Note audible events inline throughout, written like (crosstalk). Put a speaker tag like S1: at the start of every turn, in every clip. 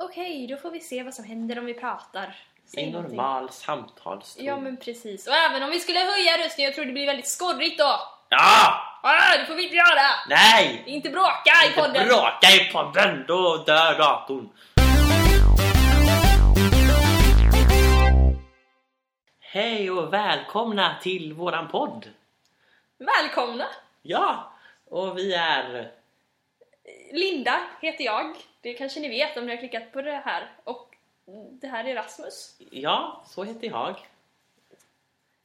S1: okej, då får vi se vad som händer om vi pratar. Säg
S2: I
S1: någonting.
S2: normal samtalston.
S1: Ja, men precis. Och även om vi skulle höja rösten, jag tror det blir väldigt skorrigt då.
S2: Ja!
S1: Ah, det får vi inte göra!
S2: Nej!
S1: Inte bråka i
S2: Inte
S1: podden!
S2: bråka i podden, då dör datorn. Hej och välkomna till våran podd.
S1: Välkomna!
S2: Ja, och vi är...
S1: Linda heter jag. Det kanske ni vet om ni har klickat på det här. Och det här är Rasmus.
S2: Ja, så heter jag.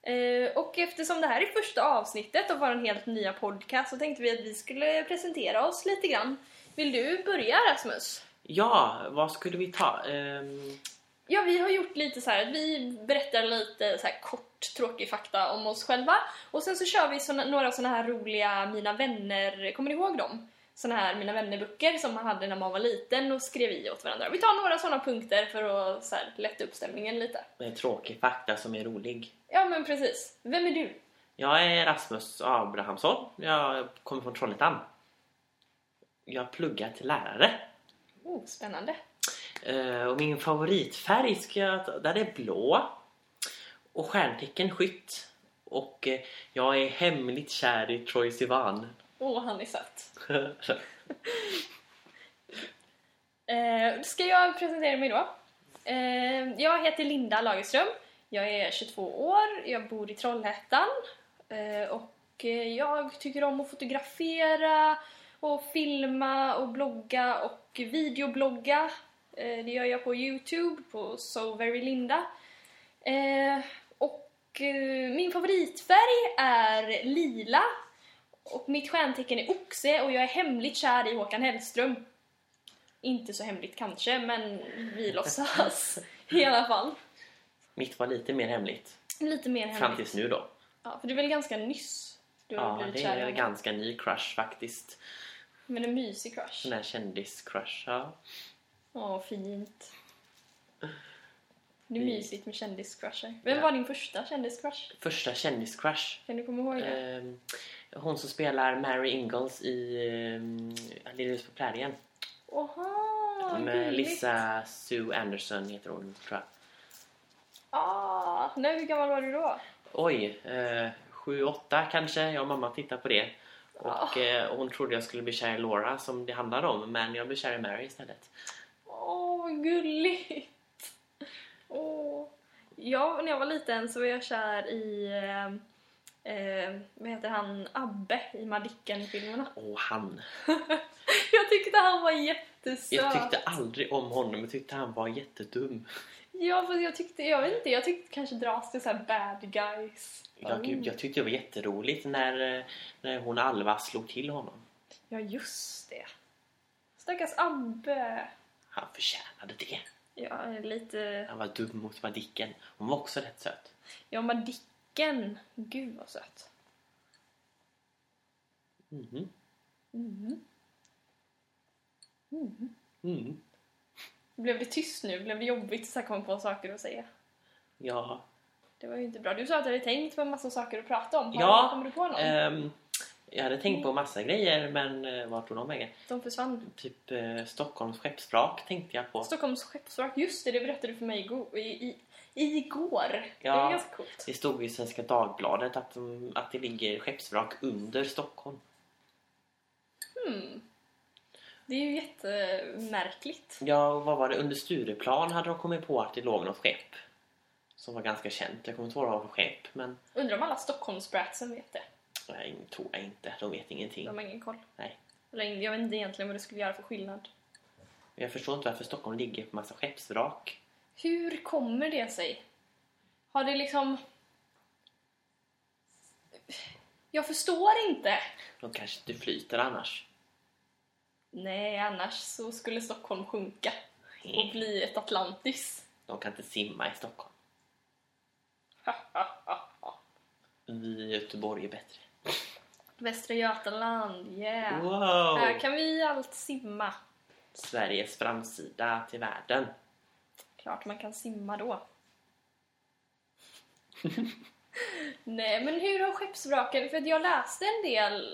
S1: Eh, och eftersom det här är första avsnittet av vår helt nya podcast så tänkte vi att vi skulle presentera oss lite grann. Vill du börja Rasmus?
S2: Ja, vad skulle vi ta? Ehm,
S1: Ja, vi har gjort lite så här att vi berättar lite så här kort tråkig fakta om oss själva och sen så kör vi såna, några såna här roliga Mina vänner, kommer ni ihåg dem? Såna här Mina vänner-böcker som man hade när man var liten och skrev i åt varandra. Vi tar några såna punkter för att så här, lätta upp stämningen lite.
S2: en tråkig fakta som är rolig.
S1: Ja, men precis. Vem är du?
S2: Jag är Rasmus Abrahamsson. Jag kommer från Trollhättan. Jag pluggar till lärare.
S1: Oh, spännande.
S2: Eh, Och min favoritfärg ska jag ta, där är blå. Och stjärntecken skytt. Och eh, jag är hemligt kär i Troye Sivan. (laughs)
S1: Åh, oh, han är söt. Eh, ska jag presentera mig då? Eh, jag heter Linda Lagerström. Jag är 22 år, jag bor i Trollhättan eh, och eh, jag tycker om att fotografera och filma och blogga och videoblogga. Eh, det gör jag på Youtube, på So Very Linda. Eh, och eh, min favoritfärg är lila och mitt stjärntecken är oxe och jag är hemligt kär i Håkan Hellström. Inte så hemligt kanske, men
S2: (laughs)
S1: vi låtsas i alla fall.
S2: Mitt var lite mer hemligt.
S1: Lite mer
S2: Fram
S1: hemligt.
S2: tills nu då.
S1: Ja, för det är väl ganska nyss du har
S2: Ja,
S1: blivit
S2: det
S1: kär
S2: är
S1: i
S2: en
S1: honom.
S2: ganska ny crush faktiskt.
S1: Men en mysig crush.
S2: Sån här kändis-crush. Ja.
S1: Åh, fint. Det är
S2: Vi-
S1: mysigt med kändiscrusher. Vem
S2: Ja.
S1: var din första kändiscrush?
S2: Första kändis-crush.
S1: Kan du komma ihåg det?
S2: Ehm, Hon som spelar Mary Ingalls i ehm, Lilla huset på prärien.
S1: Oha,
S2: Med
S1: gulligt.
S2: Lisa Sue Anderson heter hon tror jag.
S1: Ah, nej, hur gammal var du då?
S2: Oj, eh, sju, åtta kanske. Jag och mamma tittade på det. Och
S1: Ah.
S2: eh, hon trodde jag skulle bli kär i Laura som det handlar om. Men jag blev kär i Mary istället.
S1: Åh, vad gulligt! Åh. Ja, när jag var liten så var jag kär i... eh, Eh, vad heter han? Abbe i Madicken-filmerna. (laughs)
S2: Och han.
S1: Jag tyckte han var jättesöt.
S2: Jag tyckte aldrig om honom. Jag tyckte han var jättedum.
S1: Ja, fast jag tyckte... Jag vet inte, jag tyckte kanske dras till så här bad guys.
S2: Jag, gud, jag tyckte det var jätteroligt när, eh, när hon Alva slog till honom.
S1: Ja, just det. Stackars Abbe.
S2: Han förtjänade det.
S1: Ja, lite...
S2: Han var dum mot Madicken. Hon var också rätt söt.
S1: Ja, Madicken. Gud vad söt.
S2: Mhm.
S1: Mm. Mm.
S2: Mm.
S1: Blev det tyst nu? Blev det jobbigt att så här komma på saker att säga?
S2: Ja.
S1: Det var ju inte bra. Du sa att du hade tänkt på en massa saker att prata om. Har,
S2: Ja,
S1: Kommer du på någon?
S2: ehm, jag hade tänkt på massa grejer men eh, vart tog de vägen?
S1: De försvann.
S2: Typ eh, Stockholms skeppsvrak tänkte jag på.
S1: Stockholms skeppsvrak. Just det, det berättade du för mig igo- i, i, igår. Det
S2: Ja.
S1: är ganska coolt.
S2: Det stod i Svenska Dagbladet att, de- att det ligger skeppsvrak under Stockholm.
S1: Hmm. Det är ju jättemärkligt.
S2: Ja, och vad var det? Under Stureplan hade de kommit på att det låg något skepp. Som var ganska känt. Jag kommer inte ihåg vad det var för skepp, men
S1: Undrar om alla Stockholmsbratsen vet det.
S2: nej, tror jag inte. De vet ingenting.
S1: De har ingen koll.
S2: Nej.
S1: Eller in- jag vet inte egentligen vad det skulle göra för skillnad.
S2: Jag förstår inte varför Stockholm ligger på massa skeppsvrak.
S1: Hur kommer det sig? Har det liksom... Jag förstår inte.
S2: De kanske inte flyter annars.
S1: Nej, annars så skulle Stockholm sjunka och bli ett Atlantis. (laughs)
S2: De kan inte simma i Stockholm. Vi i Göteborg är bättre.
S1: Västra Götaland, yeah!
S2: Wow!
S1: Här kan vi allt simma.
S2: Sveriges framsida till (laughs) världen.
S1: Klart man kan simma då. Nej, men hur har skeppsvraken... För att jag läste en del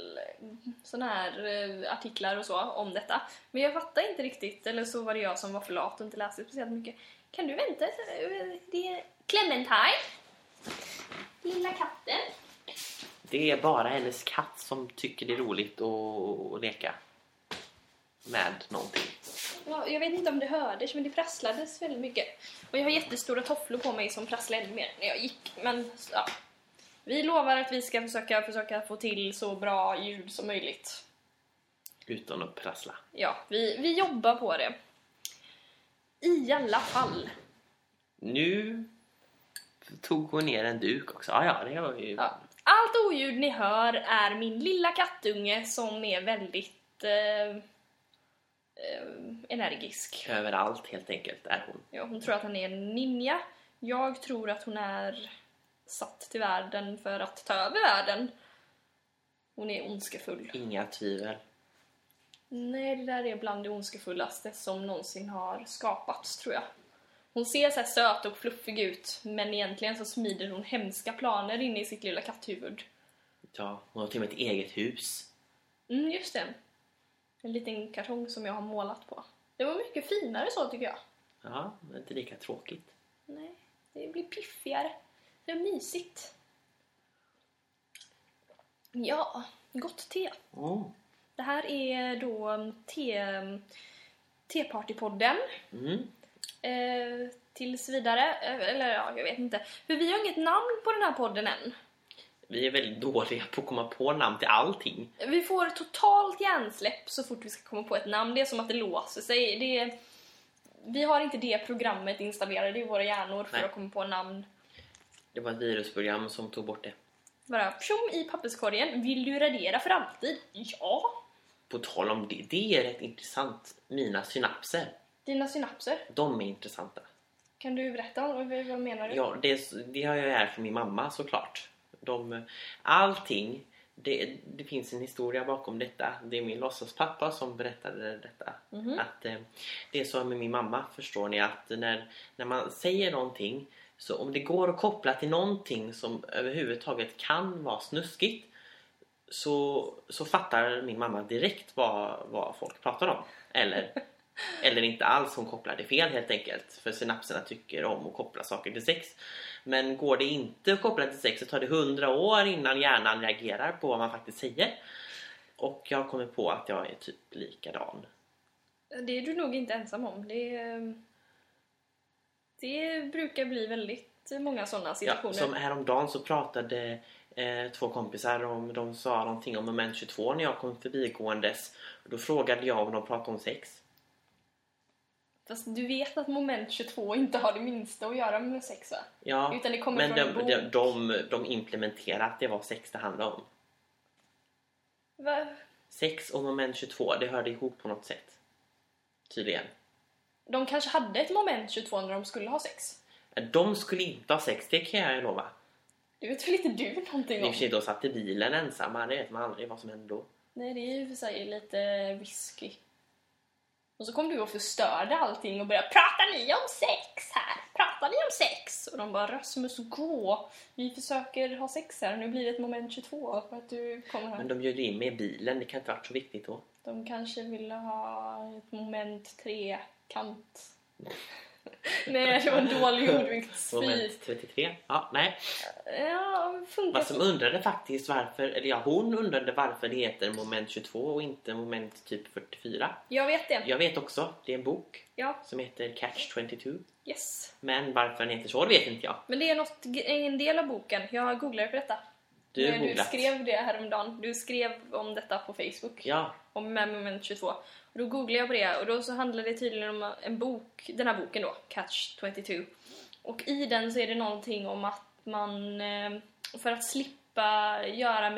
S1: sådana här eh, artiklar och så om detta. Men jag fattar inte riktigt, eller så var det jag som var för lat och inte läste speciellt mycket. Kan du vänta? eh, Det är Clementine. Lilla katten.
S2: Det är bara hennes katt som tycker det är roligt att att leka med någonting.
S1: Ja, Jag vet inte om det hördes, men det prasslades väldigt mycket. Och jag har jättestora tofflor på mig som prasslade ännu mer när jag gick. Men ja. Vi lovar att vi ska försöka, försöka få till så bra ljud som möjligt.
S2: Utan att prassla.
S1: Ja, vi, vi jobbar på det. I alla fall.
S2: Nu tog hon ner en duk också. Ah, ja, det var ju...
S1: Ja. Allt oljud ni hör är min lilla kattunge som är väldigt eh, eh, energisk.
S2: Överallt helt enkelt är hon.
S1: Ja, hon tror att han är en ninja. Jag tror att hon är satt till världen för att ta över världen. Hon är ondskefull.
S2: Inga tvivel.
S1: Nej, det där är bland det ondskefullaste som någonsin har skapats, tror jag. Hon ser så här söt och fluffig ut, men egentligen så smider hon hemska planer inne i sitt lilla katthuvud.
S2: Ja, hon har till och med ett eget hus.
S1: Mm, just det. En liten kartong som jag har målat på. Det var mycket finare så, tycker jag.
S2: Ja, men inte lika tråkigt.
S1: Nej, det blir piffigare. Det är mysigt. Ja, gott te.
S2: Oh.
S1: Det här är då mm, te... Tepartypodden.
S2: Mm.
S1: Eh, tills vidare. Eh, Eller ja, jag vet inte. För vi har inget namn på den här podden än.
S2: Vi är väldigt dåliga på att komma på namn till allting.
S1: Vi får totalt hjärnsläpp så fort vi ska komma på ett namn. Det är som att det låser sig. Det är, vi har inte det programmet installerat i våra hjärnor för
S2: Nej.
S1: att komma på namn.
S2: Det var ett virusprogram som tog bort det.
S1: Bara pjom i papperskorgen. Vill du radera för alltid? Ja!
S2: På tal om det, det är rätt intressant. Mina synapser,
S1: Dina synapser,
S2: de är intressanta.
S1: kan du berätta om vad vad menar du?
S2: Ja, det, det har jag här från min mamma såklart. De, allting, det, det finns en historia bakom detta. Det är min låtsaspappa som berättade detta.
S1: Mhm.
S2: Att, eh, det är så med min mamma, förstår ni, att när, när man säger någonting så om det går att koppla till någonting som överhuvudtaget kan vara snuskigt så, så fattar min mamma direkt vad, vad folk pratar om. Eller, eller inte alls, hon kopplade fel helt enkelt. För synapserna tycker om att koppla saker till sex. Men går det inte att koppla till sex så tar det hundra år innan hjärnan reagerar på vad man faktiskt säger. Och jag kommer på att jag är typ likadan.
S1: Det är du nog inte ensam om. Det, eh, det brukar bli väldigt många sådana
S2: Ja,
S1: situationer.
S2: som häromdagen så pratade eh, två kompisar om, de sa någonting om moment 22 när jag kom förbigåendes. Då frågade jag om de pratade om sex.
S1: Fast du vet att moment 22 inte har det minsta att göra med sex va?
S2: Ja,
S1: Utan det kommer
S2: men
S1: från en
S2: de,
S1: bok.
S2: de, de, de implementerade att det var sex det handlade om.
S1: va?
S2: Sex och moment 22, det hörde ihop på något sätt. Tydligen.
S1: De kanske hade ett moment 22 när de skulle ha sex.
S2: De skulle inte ha sex, det kan jag ju lova.
S1: Det vet väl inte du
S2: I
S1: någonting
S2: och
S1: om?
S2: för sig, då satt i bilen ensamma, det vet man aldrig vad som hände då.
S1: Nej, det är ju för sig lite risky. Och så kom du och förstörde allting och började Pratar ni om sex här? Pratar ni om sex? Och de bara Rasmus, gå! Vi försöker ha sex här och nu blir det ett moment 22 för att du kommer
S2: Men
S1: här.
S2: de bjöd in mig i bilen, det kan inte ha varit så viktigt då.
S1: De kanske ville ha ett moment
S2: (laughs)
S1: 3-kant. Nej, det var en dålig ordvits. Fy.
S2: (laughs) Moment 33? Ja, nej.
S1: Ja, funkar
S2: Vad som undrade faktiskt varför, eller ja hon undrade varför det heter moment 22 och inte moment typ 44.
S1: Jag vet det.
S2: Jag vet också, det är en bok
S1: Ja,
S2: som heter Catch 22.
S1: yes.
S2: Men varför den heter så det vet inte jag.
S1: Men det är något, en del av boken. Jag googlade på detta.
S2: Du har
S1: Men du
S2: googlat.
S1: skrev det häromdagen. Du skrev om detta på Facebook.
S2: Ja,
S1: Om med moment 22. Och då googlade jag på det och då så handlade det tydligen om en bok, den här boken då, Catch 22. Och i den så är det någonting om att man eh, för att slippa göra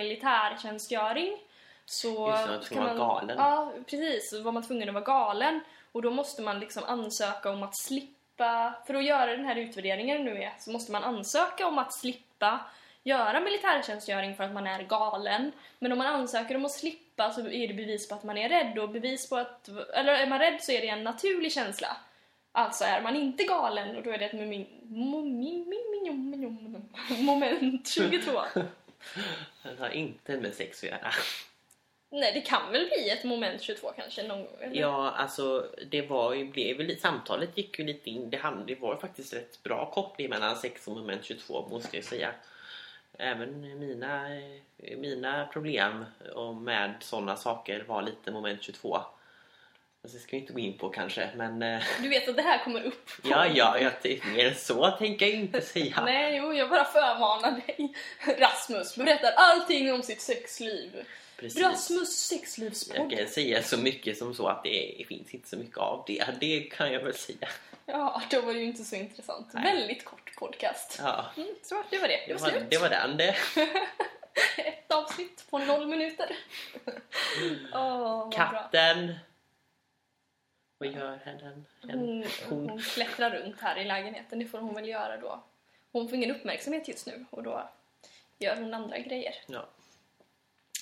S1: militärtjänstgöring så
S2: Just det, man
S1: ska
S2: var galen.
S1: Ja, precis. Så var man tvungen att vara galen. Och då måste man liksom ansöka om att slippa, för att göra den här utvärderingen nu är, så måste man ansöka om att slippa göra militärtjänstgöring för att man är galen. Men om man ansöker om att slippa så är det bevis på att man är rädd och bevis på att, eller är man rädd så är det en naturlig känsla. Alltså är man inte galen och då är det ett mumin- mumin- mumin- mumin- mumin- moment
S2: (laughs)
S1: 22.
S2: Den har inte med sex att göra.
S1: Nej, det kan väl bli ett moment 22 kanske någon gång? eller?
S2: Ja, alltså det var ju, blev väl, lite- samtalet gick ju lite in. Det, hamn- det var ju faktiskt rätt bra koppling mellan sex och moment 22 måste jag säga. Även mina, eh, mina problem och med sådana saker var lite moment 22. Alltså, det ska vi inte gå in på kanske, men
S1: (laughs)
S2: eh,
S1: Du vet att det här kommer upp? på-
S2: ja, ja, jag, t- mer än så tänker jag inte säga.
S1: Nej, jo, jag bara förmanar dig. Rasmus berättar allting om sitt sexliv.
S2: Precis.
S1: Rasmus
S2: Jag
S1: sexlivspodd.
S2: kan säga så mycket som så att det finns inte så mycket av det. Det kan jag väl säga.
S1: Ja, då var det ju inte så intressant.
S2: Nej.
S1: Väldigt kort podcast.
S2: Ja,
S1: Mm, så det var det. Det
S2: det
S1: var
S2: var,
S1: slut.
S2: det var den det.
S1: Ett avsnitt på noll minuter. Åh, vad bra.
S2: Mm. Katten. Vad gör den? den?
S1: Hon,
S2: Hon-
S1: hon klättrar runt här i lägenheten. Det får hon väl göra då. Hon får ingen uppmärksamhet just nu och då gör hon andra grejer.
S2: Ja.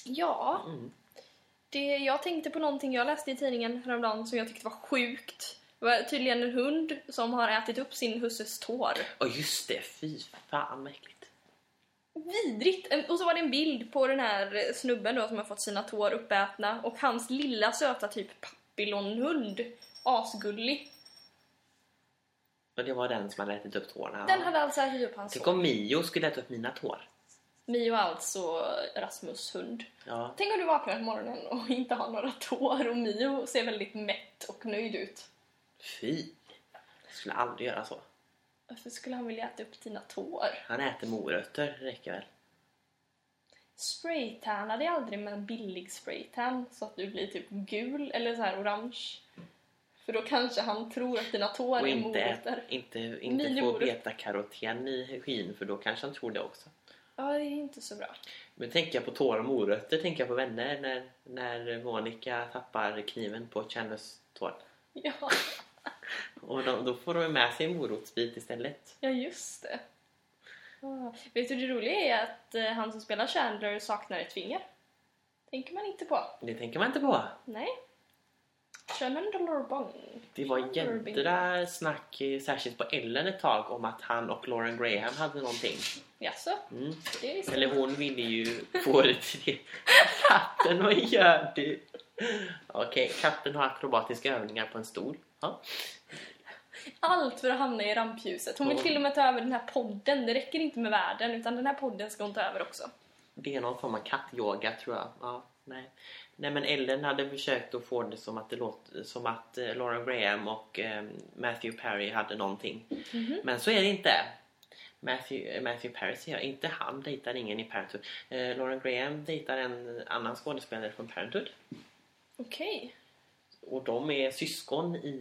S1: Ja,
S2: Mm.
S1: det, jag tänkte på någonting jag läste i tidningen häromdagen som jag tyckte var sjukt. Det var tydligen en hund som har ätit upp sin husses tår.
S2: Och just det, fy fan vad äckligt.
S1: Vidrigt! En- Och så var det en bild på den här eh, snubben då som har fått sina tår uppätna och hans lilla söta typ papillonhund. Asgullig.
S2: Och det var den som hade ätit upp tårna.
S1: Den hade alltså ätit upp hans
S2: Tänk
S1: tår.
S2: om Mio skulle äta upp mina tår.
S1: Mio är alltså Rasmus hund.
S2: Ja.
S1: Tänk om du vaknar på morgonen och (laughs) inte har några tår och Mio ser väldigt mätt och nöjd ut.
S2: Fy. Jag skulle aldrig göra så.
S1: Varför skulle han vilja äta upp dina tår?
S2: Han äter morötter, det räcker väl.
S1: Spraytanna dig aldrig med en billig spraytan så att du blir typ gul eller så här orange. För då kanske han tror att dina tår
S2: Och
S1: är
S2: inte,
S1: morötter.
S2: inte, inte
S1: Mio
S2: få
S1: morötter.
S2: beta-karoten i skyn för då kanske han tror det också.
S1: Ja, det är inte så bra.
S2: Men tänker jag på tår och morötter tänker jag på vänner när, när Monica tappar kniven på Chandlers tår.
S1: (laughs) Ja,
S2: Och då, då får de med sig en morotsbit istället.
S1: ja just det. Ah, Vet du, det roliga är att eh, han som spelar Chandler saknar ett finger. tänker man inte på.
S2: Det tänker man inte på.
S1: Nej. Chandler Bong.
S2: Det var
S1: Irving.
S2: jädra snack, eh, särskilt på Ellen ett tag, om att han och Lauren Graham hade någonting.
S1: Jaså?
S2: Mm.
S1: Det visste
S2: Eller
S1: jag.
S2: hon ville ju få det till det. Katten, vad gör du? Okej, katten har akrobatiska övningar på en stol. Ja.
S1: Allt för att hamna i rampljuset. Hon vill
S2: Ja.
S1: till och med ta över den här podden. Det räcker inte med världen, utan den här podden ska hon ta över också.
S2: Det är någon form av kattyoga tror jag. Ja, nej. nej men Ellen hade försökt att få det som att, det låt, som att eh, Lauren Graham och eh, Matthew Perry hade någonting.
S1: Mhm.
S2: Men så är det inte. Matthew, eh, Matthew Perry säger jag, inte han dejtar ingen i Parenthood. Eh, Lauren Graham dejtar en annan skådespelare från Parenthood.
S1: Okej.
S2: Och de är syskon i,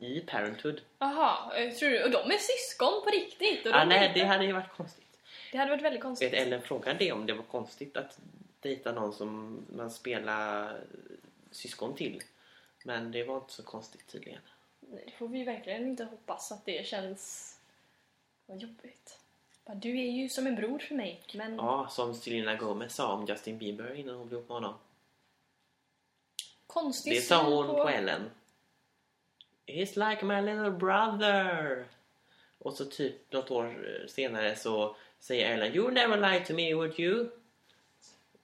S2: eh, i Parenthood.
S1: Jaha, jag Eh, tror du? Och de är syskon på riktigt? Och de
S2: Ah, nej,
S1: är-
S2: det hade ju varit konstigt.
S1: det hade varit väldigt
S2: Vet
S1: konstigt.
S2: Ellen frågade det om det var konstigt att dejta någon som man spelar syskon till. Men det var inte så konstigt tydligen.
S1: Nej, det får vi verkligen inte hoppas att det känns... Vad jobbigt. Bara, Du är ju som en bror för mig, men...
S2: Ja, som Selena Gomez sa om Justin Bieber innan hon blev ihop med honom.
S1: Konstig
S2: Det sa
S1: syn
S2: hon på Ellen. He's like my little brother. Och så typ något år senare så säger Ellen You never lied to me would you?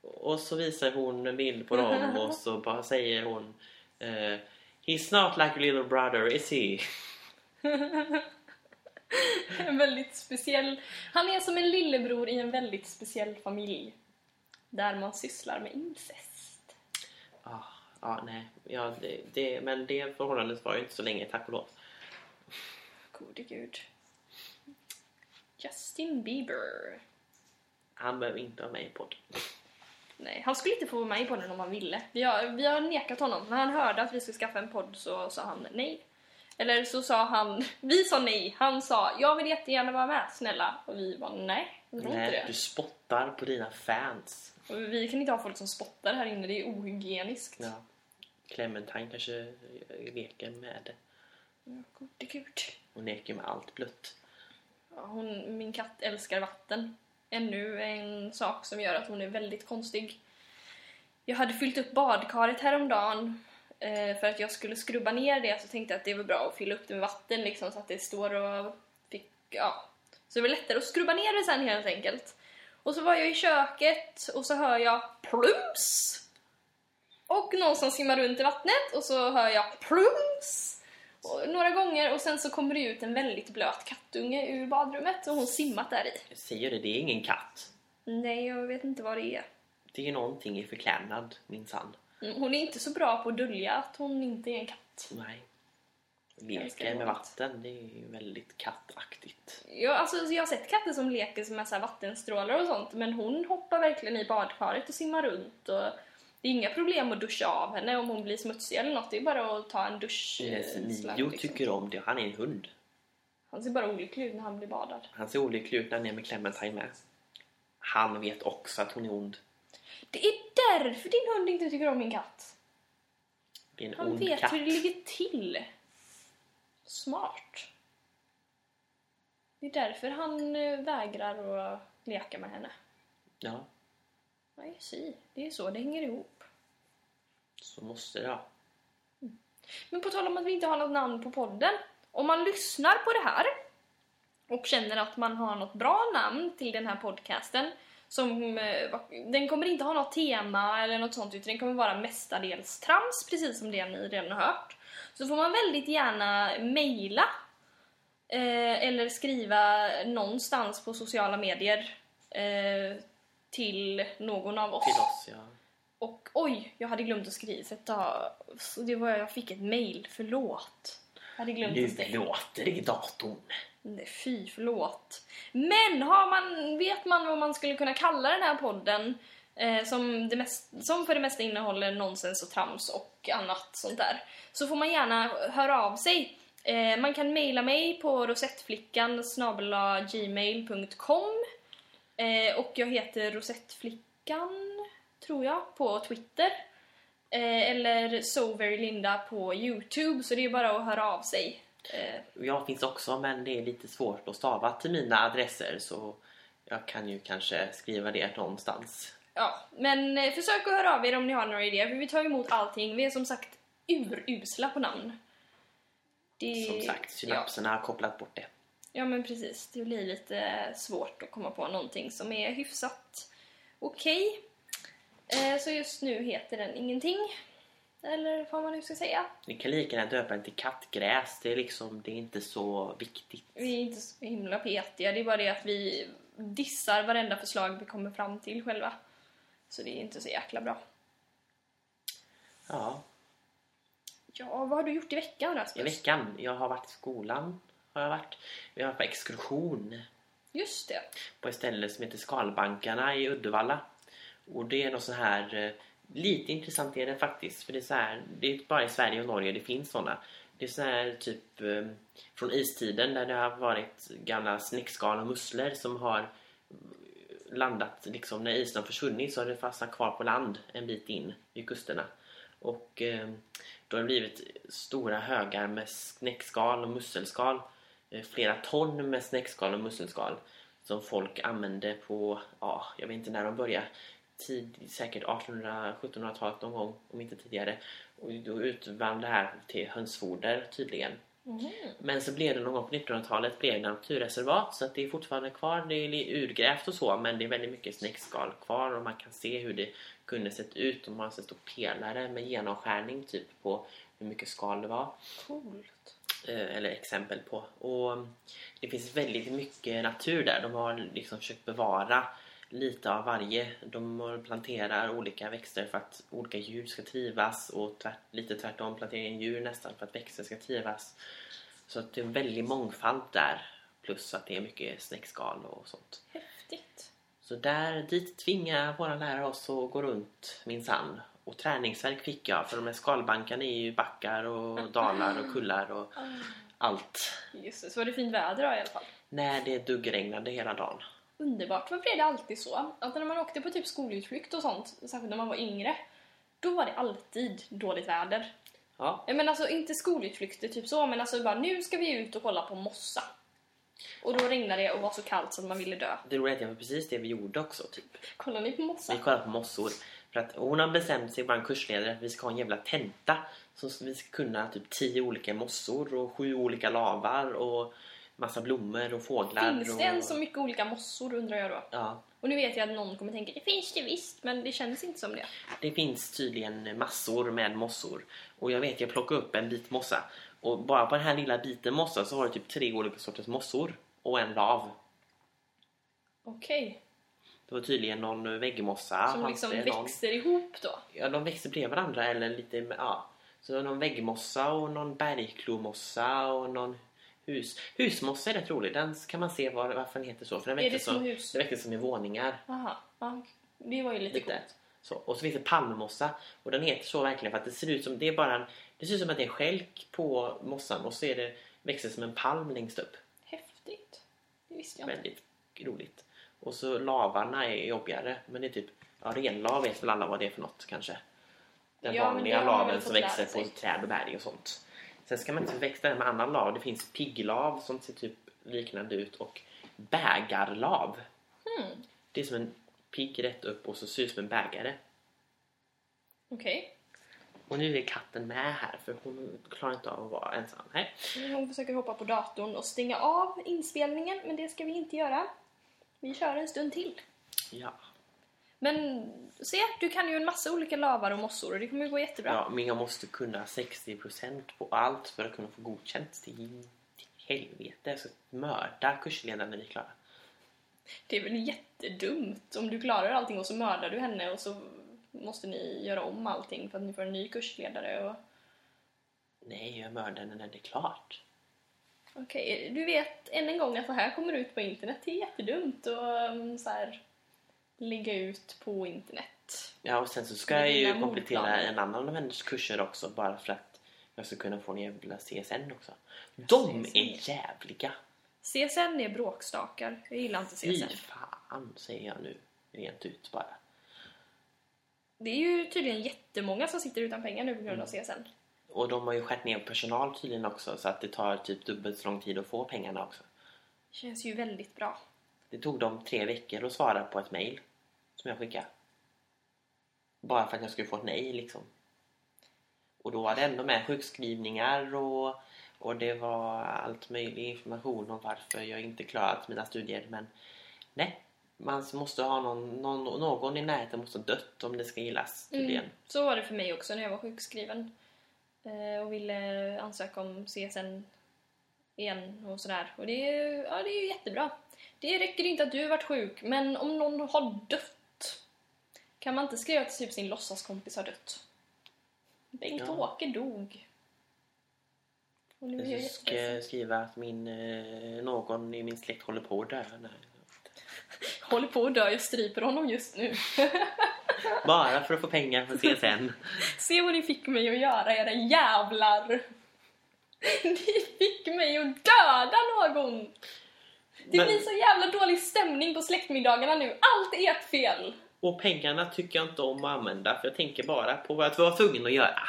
S2: Och så visar hon en bild på dem och så bara säger hon eh, He's not like a little brother is he?
S1: (laughs) En väldigt speciell... Han är som en lillebror i en väldigt speciell familj. Där man sysslar med incest.
S2: Ja, Ah, ja, nej. Ja, det, det, men det förhållandet var ju inte så länge, tack och lov.
S1: Gode gud. Justin Bieber.
S2: Han behöver inte vara med i podden.
S1: Nej, han skulle inte få vara med i podden om han ville. Vi har, vi har nekat honom. När han hörde att vi skulle skaffa en podd så sa han nej. Eller så sa han, (laughs) vi sa nej. Han sa, jag vill jättegärna vara med, snälla. Och vi var nej, jag tror inte
S2: Nej, du
S1: det.
S2: spottar på dina fans.
S1: Och vi kan inte ha folk som spottar här inne, det är ohygieniskt.
S2: Ja. Clementine kanske leker med det.
S1: Gode gud.
S2: Hon leker med allt blött.
S1: Ja, hon, min katt älskar vatten. Ännu en sak som gör att hon är väldigt konstig. Jag hade fyllt upp badkaret häromdagen Eh, för att jag skulle skrubba ner det så tänkte jag att det var bra att fylla upp det med vatten liksom så att det står och fick, ja. Så det var lättare att skrubba ner det sen helt enkelt. Och så var jag i köket och så hör jag plums! Och någon som simmar runt i vattnet och så hör jag plums! Och några gånger och sen så kommer det ut en väldigt blöt kattunge ur badrummet och hon simmat där i.
S2: Jag säger det, det är ingen katt.
S1: Nej, jag vet inte vad det är.
S2: Det är någonting i förklädnad, minsann.
S1: Mm, Hon är inte så bra på att dölja att hon inte är en katt.
S2: Nej.
S1: Ganska
S2: Leker med
S1: vanligt.
S2: vatten, det är ju väldigt kattaktigt.
S1: Jag, alltså, jag har sett katter som leker med så här vattenstrålar och sånt, men hon hoppar verkligen i badkaret och simmar runt. Och det är inga problem att duscha av henne om hon blir smutsig eller något. Det är bara att ta en dusch. eh, slang,
S2: Nio tycker
S1: liksom.
S2: om det, han är en hund.
S1: Han ser bara olycklig ut när han blir badad.
S2: Han ser olycklig ut när han är med Clementine med. Han vet också att hon är ond.
S1: Det är därför din hund inte tycker om min katt.
S2: Det är en
S1: Han
S2: ond
S1: vet
S2: katt.
S1: hur det ligger till. Smart. Det är därför han eh, vägrar att leka med henne.
S2: Ja,
S1: Nej, si. Det är så det hänger ihop.
S2: så måste det vara.
S1: Men på tal om att vi inte har något namn på podden. Om man lyssnar på det här och känner att man har något bra namn till den här podcasten. Som, eh, va- den kommer inte ha något tema eller något sånt utan den kommer vara mestadels trams, precis som det ni redan har hört. Så får man väldigt gärna mejla eh, eller skriva någonstans på sociala medier eh, till någon av oss.
S2: Till oss, ja.
S1: Och oj, jag hade glömt att skriva. sätta- Så det var jag fick ett mail, förlåt. Jag hade glömt
S2: Nu
S1: att stänga.
S2: låter det i datorn.
S1: Nej, fy, förlåt. Men har man, vet man vad man skulle kunna kalla den här podden? Eh, som, det mest, som för det mesta innehåller nonsens och trams och annat sånt där. Så får man gärna höra av sig. Eh, man kan mejla mig på rosettflickan gmail.com eh, Och jag heter rosettflickan, tror jag, på Twitter. Eh, eller soverylinda på Youtube, så det är bara att höra av sig. Eh,
S2: Jag finns också men det är lite svårt att stava till mina adresser så jag kan ju kanske skriva det någonstans.
S1: Ja, men eh, försök att höra av er om ni har några idéer, för vi tar emot allting. Vi är som sagt urusla på namn. Det-
S2: Som sagt,
S1: ja.
S2: synapserna har kopplat bort det.
S1: ja, men precis. Det blir lite eh, svårt att komma på någonting som är hyfsat okej. Eh, Så just nu heter den ingenting. Eller vad man nu ska säga.
S2: Ni kan lika gärna döpa den till kattgräs. Det är liksom, det är inte så viktigt.
S1: Vi är inte så himla petiga, det är bara det att vi dissar varenda förslag vi kommer fram till själva. Så det är inte så jäkla bra.
S2: Ja,
S1: Ja, vad har du gjort i veckan
S2: i
S1: Rasmus?
S2: veckan. Jag har varit i skolan. Har jag varit. Vi har varit på exkursion
S1: Just det.
S2: på ett ställe som heter Skalbankarna i Uddevalla. Och det är något så här, eh, lite intressant är det faktiskt, för det är så här, det är bara i Sverige och Norge det finns sådana. Det är så här typ eh, från istiden där det har varit gamla snäckskal och musslor som har eh, landat, liksom när isen har försvunnit så har det fastnat kvar på land en bit in i kusterna. Och eh, då har det blivit stora högar med snäckskal och musselskal. Eh, flera ton med snäckskal och musselskal som folk använde på, ja, jag vet inte när de började, tid, säkert 1800-1700-talet någon gång, om inte tidigare. Och då utvann det här till hönsfoder tydligen. Men så blev det någon gång på 1900-talet blev det naturreservat så att det är fortfarande kvar. Det är li- urgrävt och så men det är väldigt mycket snäckskal kvar och man kan se hur det kunde sett ut om man sett stor pelare med genomskärning typ på hur mycket skal det var
S1: Coolt.
S2: eh, eller exempel på. Och det finns väldigt mycket natur där. De har liksom försökt bevara lite av varje. De har- planterar olika växter för att olika djur ska trivas och tvärt, lite tvärtom planterar en djur nästan för att växter ska trivas. Så att det är en väldig mångfald där. Plus att det är mycket snäckskal och sånt.
S1: Häftigt.
S2: Så där, dit tvingar våra lärare oss att gå runt minsann. Och träningsverk fick jag för de här skalbankarna är ju backar och dalar och kullar och allt.
S1: Just det, så var det fint väder då, i alla fall.
S2: När det duggregnade hela dagen.
S1: Underbart. Varför är det alltid så? Att när man åkte på typ skolutflykt och sånt, särskilt när man var yngre, då var det alltid dåligt väder.
S2: Ja,
S1: Jag menar alltså inte skolutflykter typ så, men alltså bara nu ska vi ut och kolla på mossa. Och då regnade det och var så kallt så att man ville dö.
S2: det roliga är att det var precis det vi gjorde också. Typ.
S1: Kollar ni på mossa?
S2: Vi kollade på mossor. För att hon har bestämt sig, vår kursledare, att vi ska ha en jävla tenta. Så vi ska kunna typ tio olika mossor och sju olika lavar och massa blommor och fåglar.
S1: Finns
S2: och...
S1: det än så mycket olika mossor undrar jag då?
S2: Ja,
S1: Och nu vet jag att någon kommer tänka det finns det visst, men det känns inte som det.
S2: det finns tydligen massor med mossor. Och jag vet, jag plockade upp en bit mossa. Och bara på den här lilla biten mossa så var det typ tre olika sorters mossor. Och en lav.
S1: Okej,
S2: Det var tydligen någon väggmossa.
S1: som
S2: fanns
S1: liksom
S2: det någon-
S1: växer ihop då.
S2: Ja, de växer bredvid varandra eller lite... Ja. Så det var någon väggmossa och någon bergklomossa och någon hus... Husmossa är rätt rolig. Den kan man se var, varför den heter så. För den
S1: Är
S2: växer
S1: det små
S2: som,
S1: hus?
S2: den växer som i våningar.
S1: Aha, ja, det var ju lite,
S2: Lite.
S1: coolt.
S2: Så, och så finns det palmmossa. Och den heter så verkligen för att det ser ut som... Det är bara en, det ser ut som att det är en skälk på mossan och så är det, växer som en palm längst upp.
S1: Häftigt. Det visste jag inte.
S2: Väldigt roligt. Och så lavarna är jobbigare. Men det är typ... Ja, renlav vet väl alla vad det är för något kanske. Den
S1: Ja, men
S2: vanliga
S1: det har man
S2: laven
S1: väl
S2: som
S1: fått lära
S2: växer på
S1: sig.
S2: träd och berg och sånt. Sen ska man inte förväxla den med annan lav. Det finns pigglav som ser typ liknande ut och bägarlav.
S1: Hmm.
S2: Det är som en pigg rätt upp och så ser det ut som en bägare.
S1: Okej,
S2: Och nu är katten med här för hon klarar inte av att vara ensam. Nej.
S1: hon försöker hoppa på datorn och stänga av inspelningen, men det ska vi inte göra. Vi kör en stund till.
S2: Ja.
S1: Men se, du kan ju en massa olika lavar och mossor och det kommer ju gå jättebra.
S2: ja, men jag måste kunna 60% på allt för att kunna få godkänt till till helvete. Jag ska mörda kursledaren när vi är klara.
S1: Det är väl jättedumt om du klarar allting och så mördar du henne och så måste ni göra om allting för att ni får en ny kursledare och...
S2: Nej, jag mördar henne när det är klart.
S1: Okej, du vet än en gång att det här kommer ut på internet. Det är jättedumt att um, så här, lägga ut på internet.
S2: Ja, och sen så ska
S1: Med
S2: jag ju
S1: dina
S2: komplettera
S1: mordplaner.
S2: en annan av hennes kurser också bara för att jag ska kunna få en jävla CSN också.
S1: Ja,
S2: De
S1: CSN.
S2: är jävliga!
S1: CSN är bråkstakar. Jag gillar inte
S2: Fy
S1: CSN.
S2: fan, säger jag nu rent ut bara.
S1: Det är ju tydligen jättemånga som sitter utan pengar nu på
S2: Mm.
S1: grund av CSN.
S2: Och de har ju skärt ner personal tydligen också så att det tar typ dubbelt så lång tid att få pengarna också.
S1: Känns ju väldigt bra.
S2: Det tog dem tre veckor att svara på ett mejl som jag skickade. Bara för att jag skulle få ett nej liksom. Och då var det ändå med sjukskrivningar och, och det var allt möjlig information om varför jag inte klarat mina studier. Men nej, man måste ha någon, någon, någon i närheten måste ha dött om det ska gillas tydligen.
S1: Mm. Så var det för mig också när jag var sjukskriven eh, och ville ansöka om CSN igen och sådär. Och det är, ju- ja, det är ju jättebra. Det räcker inte att du varit sjuk, men om någon har dött kan man inte skriva till typ sin låtsaskompis har dött. Bengt-Åke dog. Och nu är jag
S2: Jag
S1: jätteledsen.
S2: ska skriva att min, eh, någon i min släkt håller på att dö. Nej.
S1: Håller på att dö, jag stryper honom just nu. (laughs)
S2: Bara för att få pengar från (laughs) CSN.
S1: Se vad ni fick mig att göra, era jävlar! Ni fick mig att döda någon! Det
S2: Men-
S1: blir så jävla dålig stämning på släktmiddagarna nu. Allt är ert fel!
S2: Och pengarna tycker jag inte om att använda för jag tänker bara på vad jag var tvungen att göra.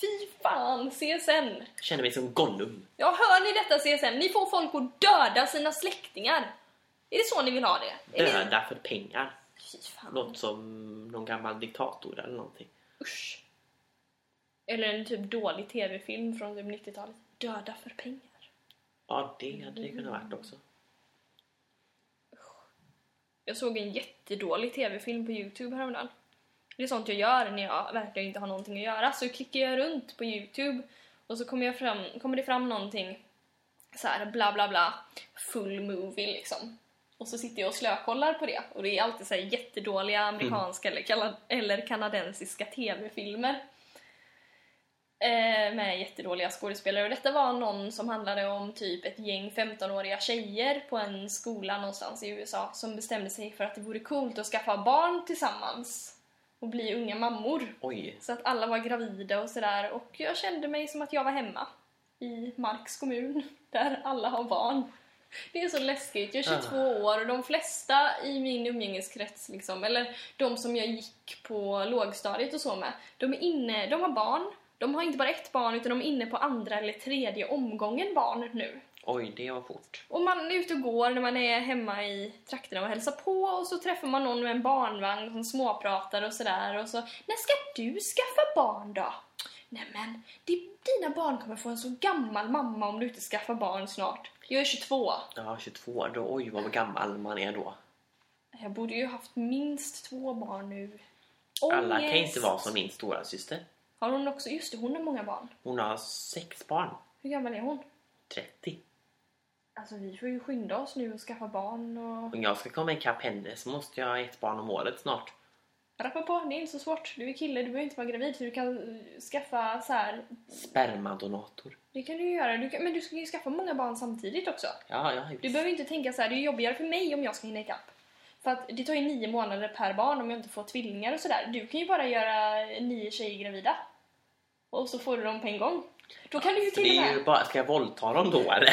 S1: Fy fan, CSN!
S2: Jag känner mig som Gollum.
S1: Ja, hör ni detta CSN? Ni får folk att döda sina släktingar! Är det så ni vill ha det? Är ni-
S2: Döda för pengar.
S1: Fy fan,
S2: Något som någon gammal diktator eller någonting.
S1: usch! Eller en typ dålig tv-film från typ 90-talet. Döda för pengar.
S2: Ja, det hade det kunnat varit också.
S1: Jag såg en jättedålig tv-film på Youtube häromdagen. Det är sånt jag gör när jag verkligen inte har någonting att göra. Så klickar jag runt på Youtube och så kommer, jag fram, kommer det fram någonting så här bla bla bla, full movie liksom. Och så sitter jag och slökollar på det. Och det är alltid så här jättedåliga amerikanska eller, kala- eller kanadensiska tv-filmer. Eh, med jättedåliga skådespelare. Och detta var någon som handlade om typ ett gäng 15-åriga tjejer på en skola någonstans i USA som bestämde sig för att det vore coolt att skaffa barn tillsammans och bli unga mammor.
S2: Oj.
S1: Så att alla var gravida och sådär och jag kände mig som att jag var hemma i Marks kommun (laughs) där alla har barn. Det är så läskigt. Jag är 22 år och de flesta i min umgängeskrets, liksom, eller de som jag gick på lågstadiet och så med, de, är inne, de har barn. De har inte bara ett barn utan de är inne på andra eller tredje omgången barn nu.
S2: Oj, det var fort.
S1: Och man är ute och går när man är hemma i trakterna och hälsar på och så träffar man någon med en barnvagn som småpratar och sådär och så När ska du skaffa barn då? Nämen, det- dina barn kommer få en så gammal mamma om du inte skaffar barn snart. Jag är 22.
S2: Ja, 22 år. Då, oj, vad gammal man är då.
S1: Jag borde ju haft minst två barn nu.
S2: Alla kan
S1: Ångest.
S2: inte vara som min stora syster.
S1: Har hon också... Just det, hon har många barn.
S2: Hon har sex barn.
S1: Hur gammal är hon?
S2: 30.
S1: Alltså vi får ju skynda oss nu och skaffa barn och...
S2: Om jag ska komma ikapp henne så måste jag ha ett barn om året snart.
S1: Rappa på, det är inte så svårt. Du är kille, du behöver inte vara gravid för du kan eh, skaffa så här.
S2: Spermadonator.
S1: Det kan du ju göra. Du kan... Men du ska ju skaffa många barn samtidigt också.
S2: Ja, ja,
S1: Du
S2: visst.
S1: behöver inte tänka så här. det är jobbigare för mig om jag ska hinna ikapp. För att det tar ju nio månader per barn om jag inte får tvillingar och sådär. Du kan ju bara göra nio tjejer gravida. Och så får du dem på en gång. Då kan du ju
S2: det
S1: till och
S2: är
S1: med...
S2: ju bara, ska jag våldta dem då eller?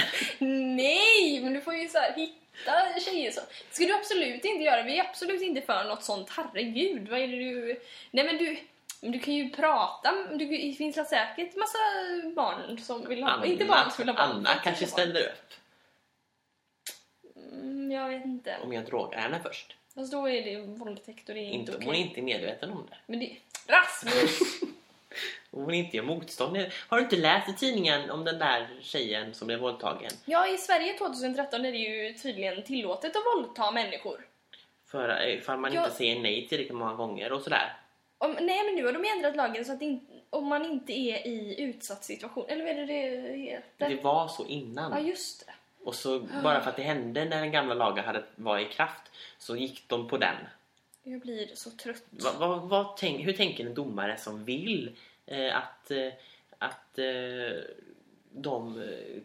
S1: Nej, men du får ju så här hitta tjejer så. Det ska du absolut inte göra. Vi är absolut inte för något sånt. Herregud, vad är det du... Nej men du... men Du kan ju prata, du, det finns väl säkert massa barn som vill ha... inte barn som vill ha barn.
S2: Anna
S1: folk som
S2: kanske
S1: vill ha barn.
S2: ställer upp.
S1: Mm, jag vet inte.
S2: Om jag drogar henne först.
S1: Fast då är det ju våldtäkt och det är inte,
S2: Inte om
S1: okej.
S2: hon är inte är medveten om det. (laughs)
S1: Men det... Rasmus!
S2: Om hon inte gör motstånd. Har du inte läst i tidningen om den där tjejen som blev våldtagen?
S1: ja, i Sverige 2013 är det ju tydligen tillåtet att våldta människor.
S2: För, eh, ifall man
S1: Jag-
S2: inte säger nej tillräckligt många gånger och sådär.
S1: Om, nej men nu har de ändrat lagen så att in, om man inte är i utsatt situation, eller vad är det det heter?
S2: Det var så
S1: Ja
S2: innan.
S1: just det.
S2: Och så bara för att det hände när den gamla lagen hade, var i kraft så gick de på den.
S1: Jag blir så trött.
S2: Va, va, vad tänk, hur tänker en domare som vill eh, att, eh, att eh, de eh,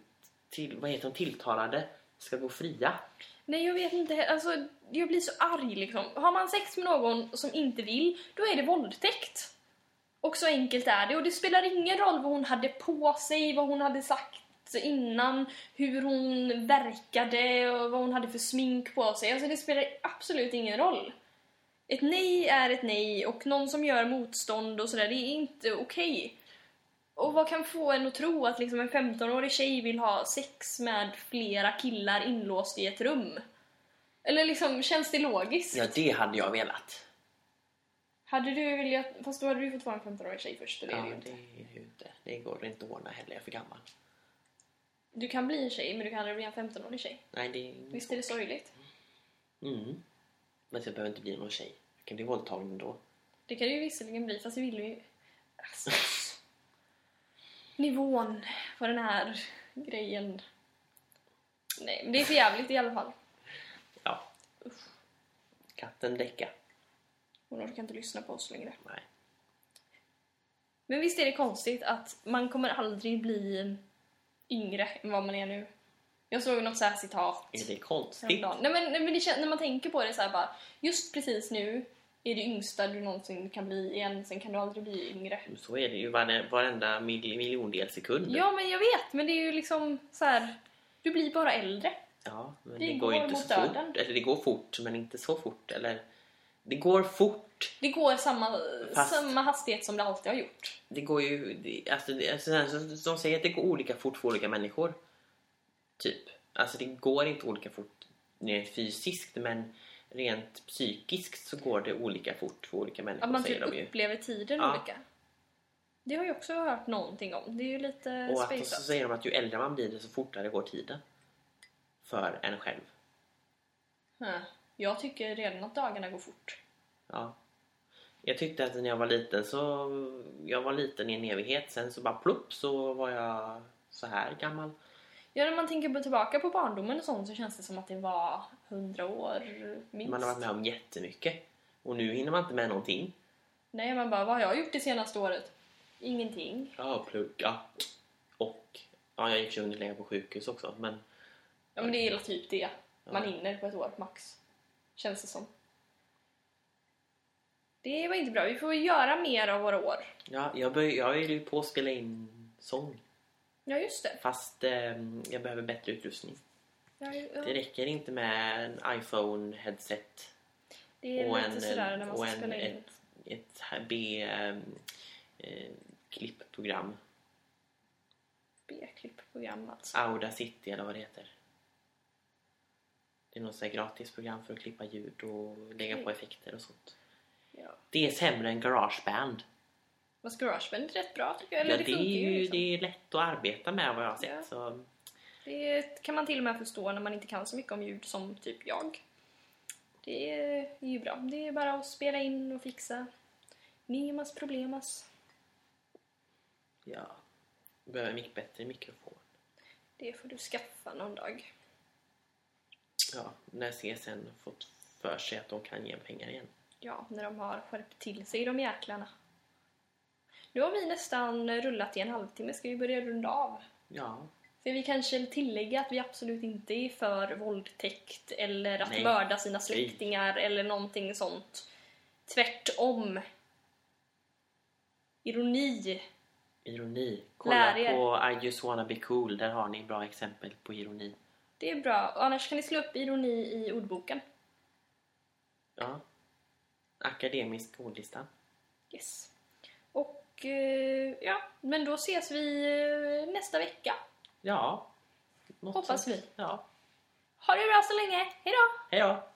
S2: till, vad heter de, tilltalade ska gå fria?
S1: Nej jag vet inte, he- alltså jag blir så arg liksom. Har man sex med någon som inte vill, då är det våldtäkt. Och så enkelt är det. Och det spelar ingen roll vad hon hade på sig, vad hon hade sagt innan, hur hon verkade och vad hon hade för smink på sig. Alltså det spelar absolut ingen roll. Ett nej är ett nej och någon som gör motstånd och sådär, det är inte okej. Och vad kan få en att tro att liksom en 15-årig tjej vill ha sex med flera killar inlåst i ett rum? Eller liksom, känns det logiskt?
S2: Ja, det hade jag velat.
S1: Hade du velat... Fast då hade du fått vara en 15-årig tjej först, och det är
S2: Ja,
S1: det ju
S2: det
S1: inte.
S2: är ju inte. Det går inte att ordna heller, jag är för gammal.
S1: Du kan bli en tjej, men du kan aldrig bli en 15-årig tjej.
S2: Nej, det är...
S1: Visst är det sorgligt?
S2: Mm. Men jag behöver inte bli någon tjej. Jag kan bli våldtagen ändå.
S1: Det kan det ju visserligen bli, fast det vill vi ju... Alltså, nivån på den här grejen. Nej, men det är för jävligt i alla fall.
S2: Ja. Katten däcka.
S1: Hon orkar inte lyssna på oss längre.
S2: Nej.
S1: Men visst är det konstigt att man kommer aldrig bli yngre än vad man är nu. Jag såg något så här citat.
S2: Är det konstigt?
S1: häromdagen. Nej men, nej, men det, kän- när man tänker på det så här bara, just precis nu är det yngsta du någonsin kan bli igen, sen kan du aldrig bli yngre.
S2: Så är det ju vare- varenda mil- miljondel sekund.
S1: Ja men jag vet, men det är ju liksom så här. du blir bara äldre.
S2: Ja, men
S1: Det
S2: det,
S1: går
S2: går ju inte
S1: mot
S2: så
S1: döden.
S2: fort. Eller det går fort, men inte så fort. Eller, det går fort.
S1: Det går samma,
S2: Fast-
S1: samma hastighet som det alltid har gjort.
S2: Det går ju... det- Alltså, det- alltså, sen så- de säger att det går olika fort för olika människor. Typ. Alltså det går inte olika fort rent fysiskt, men rent psykiskt så går det olika fort för olika människor,
S1: Att man typ
S2: säger de ju.
S1: upplever tiden
S2: Ja.
S1: olika. Det har jag också hört någonting om. Det är ju lite
S2: Och att, och så
S1: spejsat.
S2: säger de att ju äldre man blir, desto fortare går tiden. För en själv.
S1: Ja. Jag tycker redan att dagarna går fort.
S2: Ja. Jag tyckte att när jag var liten så... Jag var liten i en evighet, sen så bara plupp så var jag så här gammal.
S1: Ja, när man tänker på- tillbaka på barndomen och sånt så känns det som att det var hundra år minst.
S2: Man har varit med om jättemycket. Och nu hinner man inte med någonting.
S1: Nej, man bara, vad har jag gjort det senaste året? Ingenting.
S2: Ja, plugga. Och... Ja, jag gick ju underläge på sjukhus också, men...
S1: Ja, men det är väl typ det man
S2: Ja.
S1: hinner på ett år, max. Känns det som. Det var inte bra. Vi får göra mer av våra år.
S2: Ja, jag, bör, jag är ju på att spela in sång.
S1: Ja, just det.
S2: Fast eh, jag behöver bättre utrustning.
S1: Ja, ja.
S2: Det räcker inte med en iPhone-headset.
S1: Det är
S2: och
S1: lite
S2: en-
S1: sådär när man
S2: och
S1: ska
S2: en-
S1: spela in.
S2: ett- ett ehm, eh, B-klippprogram.
S1: B-klippprogram alltså.
S2: Auda City eller vad det heter. Det är något sånt här gratisprogram för att klippa ljud och lägga på
S1: Okej.
S2: effekter och sånt.
S1: Ja.
S2: Det är sämre än Garageband.
S1: Fast Garageband är rätt bra tycker jag. Eller
S2: Ja,
S1: det,
S2: det, är
S1: funkar ju.
S2: ju,
S1: Liksom.
S2: det är lätt att arbeta med vad jag har sett.
S1: Ja.
S2: Så,
S1: Det kan man till och med förstå när man inte kan så mycket om ljud som typ jag. Det är ju bra. Det är bara att spela in och fixa. Nemas problemas.
S2: ja. Behöver en mycket bättre mikrofon.
S1: Det får du skaffa någon dag.
S2: Ja, när CSN fått för sig att de kan ge pengar igen.
S1: Ja, när de har skärpt till sig de jäklarna. Nu har vi nästan rullat i en halvtimme. Ska vi börja runda av?
S2: Ja,
S1: Ska vi kanske tillägga att vi absolut inte är för våldtäkt eller att
S2: Nej.
S1: mörda sina släktingar eller någonting sånt. Tvärtom. Ironi.
S2: ironi.
S1: Lär
S2: Kolla
S1: er.
S2: på I just wanna be cool. Där har ni bra exempel på ironi.
S1: Det är bra. Och Annars kan ni slå upp ironi i ordboken.
S2: Ja. Akademisk ordlista.
S1: Yes. Och eh, ja, men då ses vi eh, nästa vecka.
S2: Ja. något
S1: Hoppas
S2: sånt.
S1: vi.
S2: Ja.
S1: Ha det bra så länge. Hej då!
S2: Hej då!